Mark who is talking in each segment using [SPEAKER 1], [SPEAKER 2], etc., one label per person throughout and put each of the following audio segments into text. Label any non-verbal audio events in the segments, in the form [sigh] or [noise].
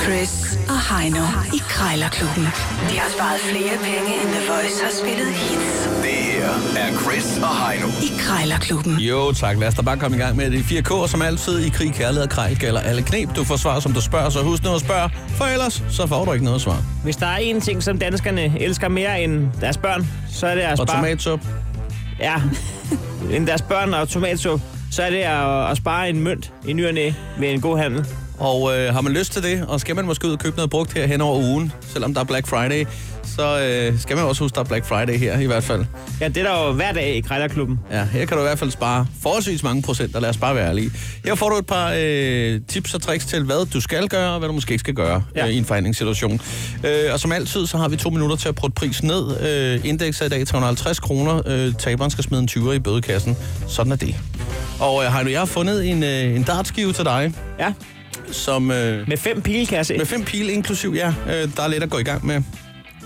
[SPEAKER 1] Chris og Heino i Krejlerklubben. De har sparet flere penge, end The Voice har spillet hits
[SPEAKER 2] Det her er Chris og Heino.
[SPEAKER 1] i Krejlerklubben.
[SPEAKER 3] Jo tak, lad os da bare komme i gang med det. 4K som altid i krig, kærlighed og krejl gælder alle knep. Du får svar, som du spørger, så husk nu at spørge, for ellers så får du ikke noget svar.
[SPEAKER 4] Hvis der er én ting, som danskerne elsker mere end deres børn, så er det at
[SPEAKER 3] Og
[SPEAKER 4] spare...
[SPEAKER 3] tomatsup.
[SPEAKER 4] Ja, [laughs] end deres børn og tomatsup, så er det at, at spare en mønt i ny og næ ved en god handel.
[SPEAKER 3] Og øh, har man lyst til det, og skal man måske ud og købe noget brugt her hen over ugen, selvom der er Black Friday, så øh, skal man også huske, der er Black Friday her i hvert fald.
[SPEAKER 4] Ja, det er der jo hver dag i Krejlerklubben.
[SPEAKER 3] Ja, her kan du i hvert fald spare forholdsvis mange procenter, lad os bare være ærlige. Her får du et par øh, tips og tricks til, hvad du skal gøre, og hvad du måske ikke skal gøre ja.
[SPEAKER 4] Ja.
[SPEAKER 3] øh, i en forhandlingssituation. Øh, og som altid, så har vi to minutter til at prøve prisen ned. Øh, indeks er i dag 350 kroner. Øh, taberen skal smide en 20'er i bødekassen. Sådan er det. Og øh, Heino, jeg har fundet en, øh, en dartskive til dig,
[SPEAKER 4] Ja,
[SPEAKER 3] som... Øh,
[SPEAKER 4] med fem pile, kan jeg se.
[SPEAKER 3] med fem pile inklusiv, ja. Øh, der er lidt at gå i gang med.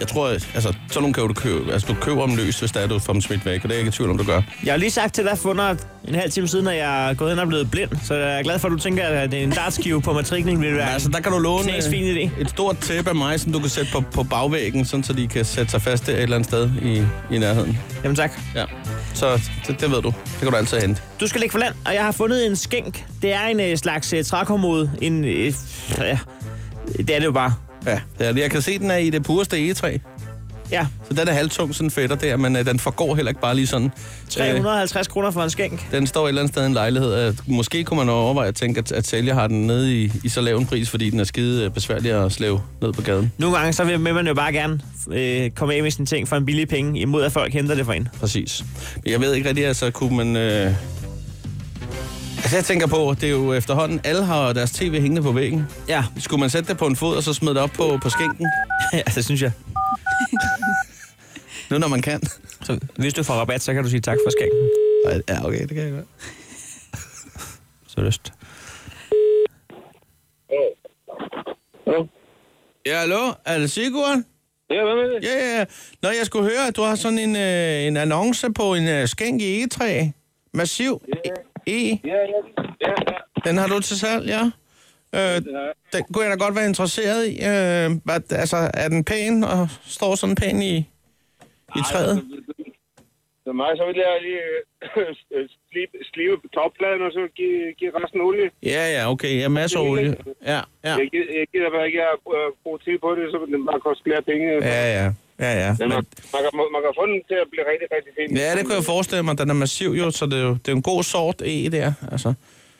[SPEAKER 3] Jeg tror, at- altså, sådan nogle kan jo du købe. Altså, du køber dem løs, hvis der er, du får dem smidt væk, og det er jeg ikke i tvivl om, du gør.
[SPEAKER 4] Jeg har lige sagt til dig for under en halv time siden, at jeg er gået hen og blevet blind, så jeg er glad for, at du tænker, at det er en dartskive på matrikning, vil
[SPEAKER 3] Ja,
[SPEAKER 4] være
[SPEAKER 3] altså, der kan du låne øh,
[SPEAKER 4] knasfin idé.
[SPEAKER 3] et stort tæppe af mig, som du kan sætte på, på bagvæggen, sådan, så de kan sætte sig fast et eller andet sted i, i nærheden.
[SPEAKER 4] Jamen tak.
[SPEAKER 3] Ja. Så det, det ved du. Det kan du altid hente.
[SPEAKER 4] Du skal ligge for land, og jeg har fundet en skænk. Det er en øh, slags øh, trækomode. En, øh, ja, det er det jo bare.
[SPEAKER 3] Ja. ja det- jeg kan se, den er i det pureste egetræ.
[SPEAKER 4] Ja,
[SPEAKER 3] Så den er halvtung, sådan fætter der, men øh, den forgår heller ikke bare lige sådan. Øh,
[SPEAKER 4] 350 kroner for en skænk.
[SPEAKER 3] Den står et eller andet sted i en lejlighed. Øh, Måske kunne man overveje at tænke, at, at sælger har den nede i, i så lav en pris, fordi den er skide øh, besværlig at slæve ned på gaden.
[SPEAKER 4] Nogle gange så vil vil man jo bare gerne øh, komme af med sine ting for en billig penge, imod at folk henter det for en.
[SPEAKER 3] Præcis. Men jeg ved ikke rigtig, altså kunne man... Øh... Altså jeg tænker på, det er jo efterhånden, alle har deres tv hængende på væggen.
[SPEAKER 4] [laughs] Ja,
[SPEAKER 3] Skulle man sætte det på en fod, og så smide det op på, på skænken?
[SPEAKER 4] ja Altså, det synes jeg.
[SPEAKER 3] Nu når man kan.
[SPEAKER 4] Så hvis du får rabat, så kan du sige tak for skænken.
[SPEAKER 3] Ej, Ja, okay, det kan jeg godt.
[SPEAKER 4] Så lyst.
[SPEAKER 5] Hallo?
[SPEAKER 3] Ja, hallo? Er det Sigurd?
[SPEAKER 5] Ja, hvad med det?
[SPEAKER 3] Ja, ja, ja. Nå, jeg skulle høre, at du har sådan en, øh, en annonce på en øh, skænk i egetræ. Massiv E. e.
[SPEAKER 5] Ja, ja, ja, ja.
[SPEAKER 3] Den har du til salg, ja? Øh, den kunne jeg da godt være interesseret i. Øh, hvad, altså, er den pæn og står sådan pæn i, i træet?
[SPEAKER 5] altså- Så mig, så vil jeg lige øh, [clears throat] slibe, slibe toppladen, og så give, give resten olie.
[SPEAKER 3] Ja, ja, okay. Ja, masser af olie. Ja, ja.
[SPEAKER 5] Jeg, gider, jeg gider bare ikke at øh, bruge tid på det, så vil den bare koste flere penge.
[SPEAKER 3] Ja, ja. Ja, ja.
[SPEAKER 5] Den er,
[SPEAKER 3] Men,
[SPEAKER 5] man, kan, man kan få den til at blive rigtig, rigtig fin.
[SPEAKER 3] ja, det kunne jeg forestille mig. Den er massiv jo, så det er jo det er en god sort E der. Altså,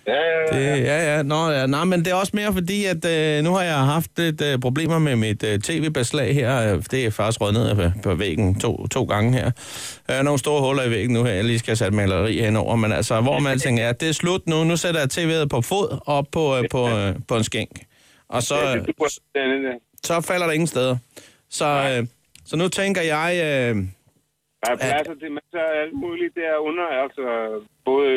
[SPEAKER 5] Ja, ja,
[SPEAKER 3] det,
[SPEAKER 5] ja.
[SPEAKER 3] ja, ja. Nå, ja. Nej, men det er også mere fordi, at øh, nu har jeg haft lidt øh, problemer med mit øh, tv-beslag her. Øh, Det er faktisk røget ned på, på væggen to, to gange her. Jeg har nogle store huller i væggen nu her. Jeg lige skal sætte maleri henover, men altså, hvor man alting er, det er slut nu. Nu sætter jeg tv'et på fod op på, øh, på, øh, på en skænk. Og så,
[SPEAKER 5] Ja,
[SPEAKER 3] øh,
[SPEAKER 5] det duer. Den, den, den.
[SPEAKER 3] så falder der ingen steder. Så, øh, så nu tænker jeg... Øh,
[SPEAKER 5] Der er pladser til masser af alt muligt derunder, altså både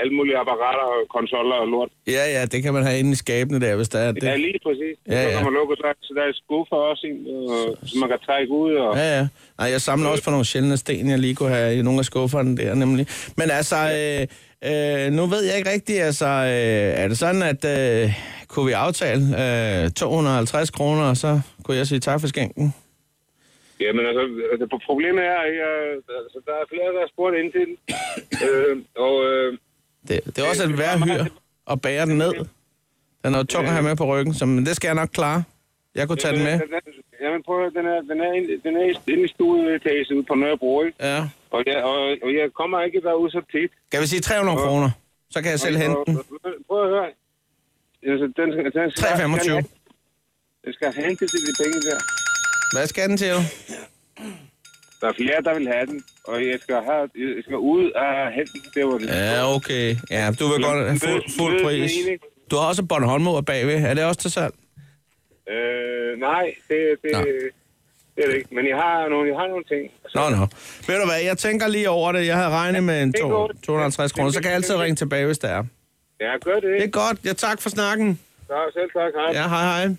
[SPEAKER 5] alle mulige apparater og konsoller og lort.
[SPEAKER 3] Ja, ja, det kan man have inde i skabene der, hvis der er det.
[SPEAKER 5] Ja, lige præcis.
[SPEAKER 3] Ja,
[SPEAKER 5] Ja, ja. Så
[SPEAKER 3] ja.
[SPEAKER 5] kan man lukke, så, så der er skuffer også, en, øh, som man kan trække ud. Og,
[SPEAKER 3] Ja, ja. Nej, jeg samler også på nogle sjældne sten, jeg lige kunne have i nogle af skufferne der, nemlig. Men altså, øh, øh, nu ved jeg ikke rigtigt, altså, øh, er det sådan, at øh, kunne vi aftale øh, 250 kroner, og så kunne jeg sige tak for skænken?
[SPEAKER 5] Jamen altså, altså pro- problemet er, at jeg, altså, der er flere, der har spurgt ind til den. [coughs] øh, og øh,
[SPEAKER 3] Det, det er også et værd hyr at bære den ned. Den er jo tung at have med på ryggen, så men det skal jeg nok klare. Jeg kunne tage den med.
[SPEAKER 5] den er, jamen prøv at høre, den er, den er, inde- den er inde i studietagen ude på Nørrebro, ikke?
[SPEAKER 3] Ja.
[SPEAKER 5] Og jeg, og, og jeg kommer ikke derud så tit.
[SPEAKER 3] Kan vi sige 300 kroner? Så kan jeg selv hente den.
[SPEAKER 5] Og- og- Prøv at høre. Altså, den, skal- den skal,
[SPEAKER 3] 3,25.
[SPEAKER 5] den skal- Den skal hente til de penge der.
[SPEAKER 3] Hvad skal den til? jo?
[SPEAKER 5] Der er flere, der vil have den, og jeg skal, have, jeg skal ud og hente den der, hvor det
[SPEAKER 3] Ja, okay. Ja, du vil godt have fuld, fuld pris. Du har også Bornholmer bagved. Er det også til salg?
[SPEAKER 5] Øh, nej, det, det,
[SPEAKER 3] Nå.
[SPEAKER 5] det er det ikke. Men jeg har nogle, jeg har nogle ting. Altså,
[SPEAKER 3] Nå, nå. Ved du hvad, jeg tænker lige over det. Jeg havde regnet med en
[SPEAKER 5] er
[SPEAKER 3] to,
[SPEAKER 5] godt.
[SPEAKER 3] 250 kroner, så kan jeg altid ringe tilbage, hvis der er.
[SPEAKER 5] Ja, gør det.
[SPEAKER 3] Det er
[SPEAKER 5] ikke?
[SPEAKER 3] godt. Ja, tak for snakken.
[SPEAKER 5] Så, selv tak. Hej.
[SPEAKER 3] Ja, hej hej.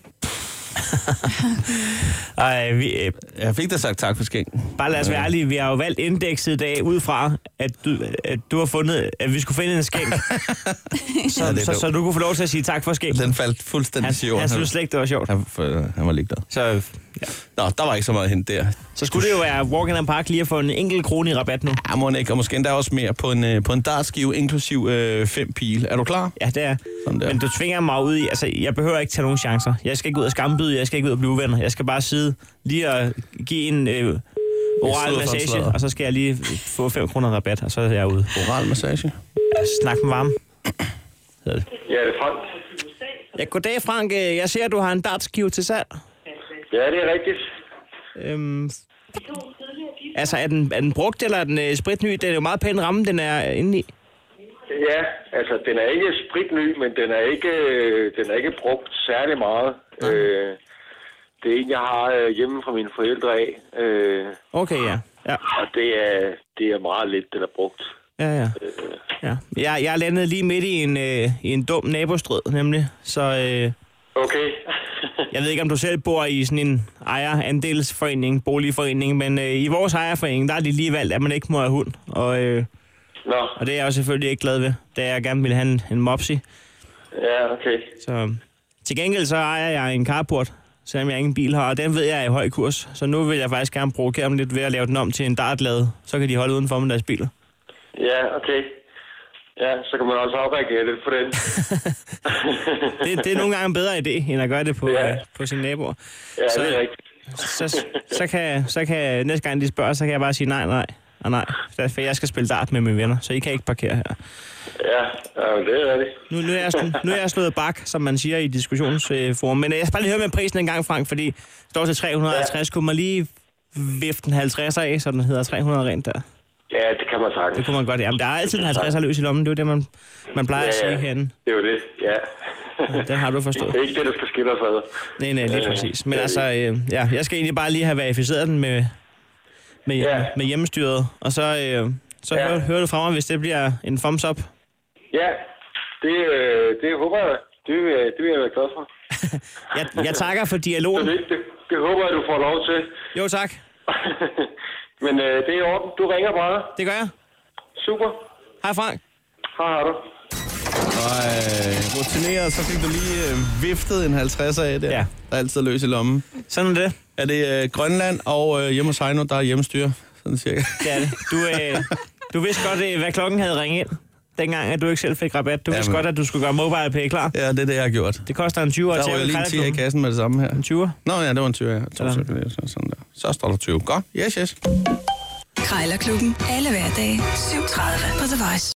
[SPEAKER 4] Ej, vi, øh,
[SPEAKER 3] Jeg fik da sagt tak for skænken.
[SPEAKER 4] bare lad os være ærlige, vi har jo valgt indekset i dag ud fra, at du, at du har fundet, at vi skulle finde
[SPEAKER 3] [laughs]
[SPEAKER 4] en skænk, så,
[SPEAKER 3] Ja, det er
[SPEAKER 4] så, så,
[SPEAKER 3] dumt.
[SPEAKER 4] du kunne få lov til at sige tak for skænk.
[SPEAKER 3] Den faldt fuldstændig
[SPEAKER 4] Han,
[SPEAKER 3] til jorden.
[SPEAKER 4] han synes slet ikke, det var sjovt.
[SPEAKER 3] Han, han, han var ligeglad.
[SPEAKER 4] Så, ja.
[SPEAKER 3] Nå, der var ikke så meget at hente der.
[SPEAKER 4] så skulle det jo være Walk in the Park lige at få en enkelt krone i rabat nu.
[SPEAKER 3] Ja, må ikke, og måske endda også mere på en, øh, på en dartskive, inklusiv øh, fem pile. Er du klar?
[SPEAKER 4] Ja, det er.
[SPEAKER 3] Sådan der.
[SPEAKER 4] Men du tvinger mig ud i, altså jeg behøver ikke tage nogen chancer. Jeg skal ikke ud og skambyde, jeg skal ikke ud og blive uvenner. Jeg skal bare sidde lige og give en øh, oral
[SPEAKER 3] sidder for en
[SPEAKER 4] massage,
[SPEAKER 3] sladder.
[SPEAKER 4] og så skal jeg lige få 5 kroner rabat, og så er jeg ude.
[SPEAKER 3] Oral massage.
[SPEAKER 4] Altså, snak med varme. hedder det.
[SPEAKER 6] Ja, det er Frank.
[SPEAKER 4] Ja, goddag Frank. Øh, Jeg ser, at du har en dartskive til salg.
[SPEAKER 6] Ja, det er rigtigt.
[SPEAKER 4] Øhm, altså, er den, er den brugt, eller er den øh, spritny? Den er jo meget pæn ramme, den er øh, inde i.
[SPEAKER 6] Ja, altså den er ikke spritny, men den er ikke, øh, den er ikke brugt særlig meget. Øh, det er en, jeg har øh, hjemme fra mine forældre af, øh,
[SPEAKER 4] Okay, ja. Ja,
[SPEAKER 6] og det er, det er meget lidt, den er brugt.
[SPEAKER 4] ja, ja.
[SPEAKER 6] Øh,
[SPEAKER 4] ja. Jeg, jeg landede lige midt i en, øh, i en dum nabostrid, nemlig. Så øh, [laughs]
[SPEAKER 6] Okay.
[SPEAKER 4] jeg ved ikke, om du selv bor i sådan en ejerandelsforening, boligforening, men øh, i vores ejerforening, der er de lige valgt, at man ikke må have hund. Og, øh,
[SPEAKER 6] Nå,
[SPEAKER 4] og det er jeg jo selvfølgelig ikke glad ved, da jeg gerne ville have en, en mopsi.
[SPEAKER 6] ja, okay.
[SPEAKER 4] Så til gengæld så ejer jeg en carport, selvom jeg ingen bil har, og den ved jeg er i høj kurs. Så nu vil jeg faktisk gerne provokere dem lidt ved at lave den om til en dartlade. Så kan de holde udenfor med deres biler.
[SPEAKER 6] Ja, okay. Ja, så kan man også afreagere lidt på den.
[SPEAKER 4] Det, det er nogle gange en bedre idé, end at gøre det på,
[SPEAKER 6] Ja.
[SPEAKER 4] ja. øh, på sine naboer.
[SPEAKER 6] Ja,
[SPEAKER 4] Så-
[SPEAKER 6] så... det er rigtigt.
[SPEAKER 4] Så, så, kan, så kan næste gang de spørger, så kan jeg bare sige nej, nej og nej. For jeg skal spille dart med mine venner, så I kan ikke parkere her.
[SPEAKER 6] Ja, ja men det er det.
[SPEAKER 4] Nu, nu, er jeg, sl- nu er jeg slået bak, som man siger i diskussionsforum. Men øh, jeg skal bare lige høre med prisen en gang, Frank, fordi det står til 350. Kunne man lige vifte en 50 af, så den hedder 300 rent der?
[SPEAKER 6] Ja, det kan man sagtens.
[SPEAKER 4] Det kunne man godt. Jamen, der er altid en 50 løs i lommen. Det er jo det, man, man plejer ja, at sige herinde.
[SPEAKER 6] Det er jo det, ja.
[SPEAKER 4] Det har du forstået.
[SPEAKER 6] Det er ikke det, der skal skille os ad.
[SPEAKER 4] Nej, nej, lige
[SPEAKER 6] Ja,
[SPEAKER 4] præcis. Men
[SPEAKER 6] det er
[SPEAKER 4] altså, øh, ja, jeg skal egentlig bare lige have verificeret den med, med,
[SPEAKER 6] Ja.
[SPEAKER 4] med hjemmestyret. Og så, øh, så
[SPEAKER 6] Ja.
[SPEAKER 4] hører, hører du fra mig, hvis det bliver en thumbs up.
[SPEAKER 6] Ja, det, øh, det håber jeg. Det, vil jeg- det vil jeg være glad for.
[SPEAKER 4] Jeg, jeg takker for
[SPEAKER 6] Så
[SPEAKER 4] dialogen.
[SPEAKER 6] Det, det, det håber jeg, du får lov til. [laughs]
[SPEAKER 4] Jo, tak.
[SPEAKER 6] Men øh, det er i orden. Du ringer bare.
[SPEAKER 4] Det gør jeg.
[SPEAKER 6] Super.
[SPEAKER 4] Hej, Frank.
[SPEAKER 6] Hej, har du.
[SPEAKER 3] Og øh, rutineret, så fik du lige øh, viftet en 50 af der.
[SPEAKER 4] Ja.
[SPEAKER 3] Der er altid løs i lommen.
[SPEAKER 4] Sådan er det.
[SPEAKER 3] Er det øh, Grønland og øh, hjemme hos Heino, der er hjemmestyre? Sådan cirka.
[SPEAKER 4] Det er det. Du, øh, du vidste godt, øh, hvad klokken havde ringet ind, dengang at du ikke selv fik rabat. Du vidste
[SPEAKER 3] Jamen.
[SPEAKER 4] godt, at du skulle gøre mobile pay klar.
[SPEAKER 3] Ja, det er det, jeg har gjort.
[SPEAKER 4] Det koster en 20 år
[SPEAKER 3] Der
[SPEAKER 4] til
[SPEAKER 3] var jeg lige en 10 i
[SPEAKER 4] en
[SPEAKER 3] kassen med det samme her.
[SPEAKER 4] 20
[SPEAKER 3] Nå ja, det var en 20, ja. To
[SPEAKER 4] Sådan.
[SPEAKER 3] cirka, så- Sådan der. Så står der 20. Godt. Yes, yes.
[SPEAKER 1] Krejlerklubben. Alle hverdage. 7.30 på The Voice.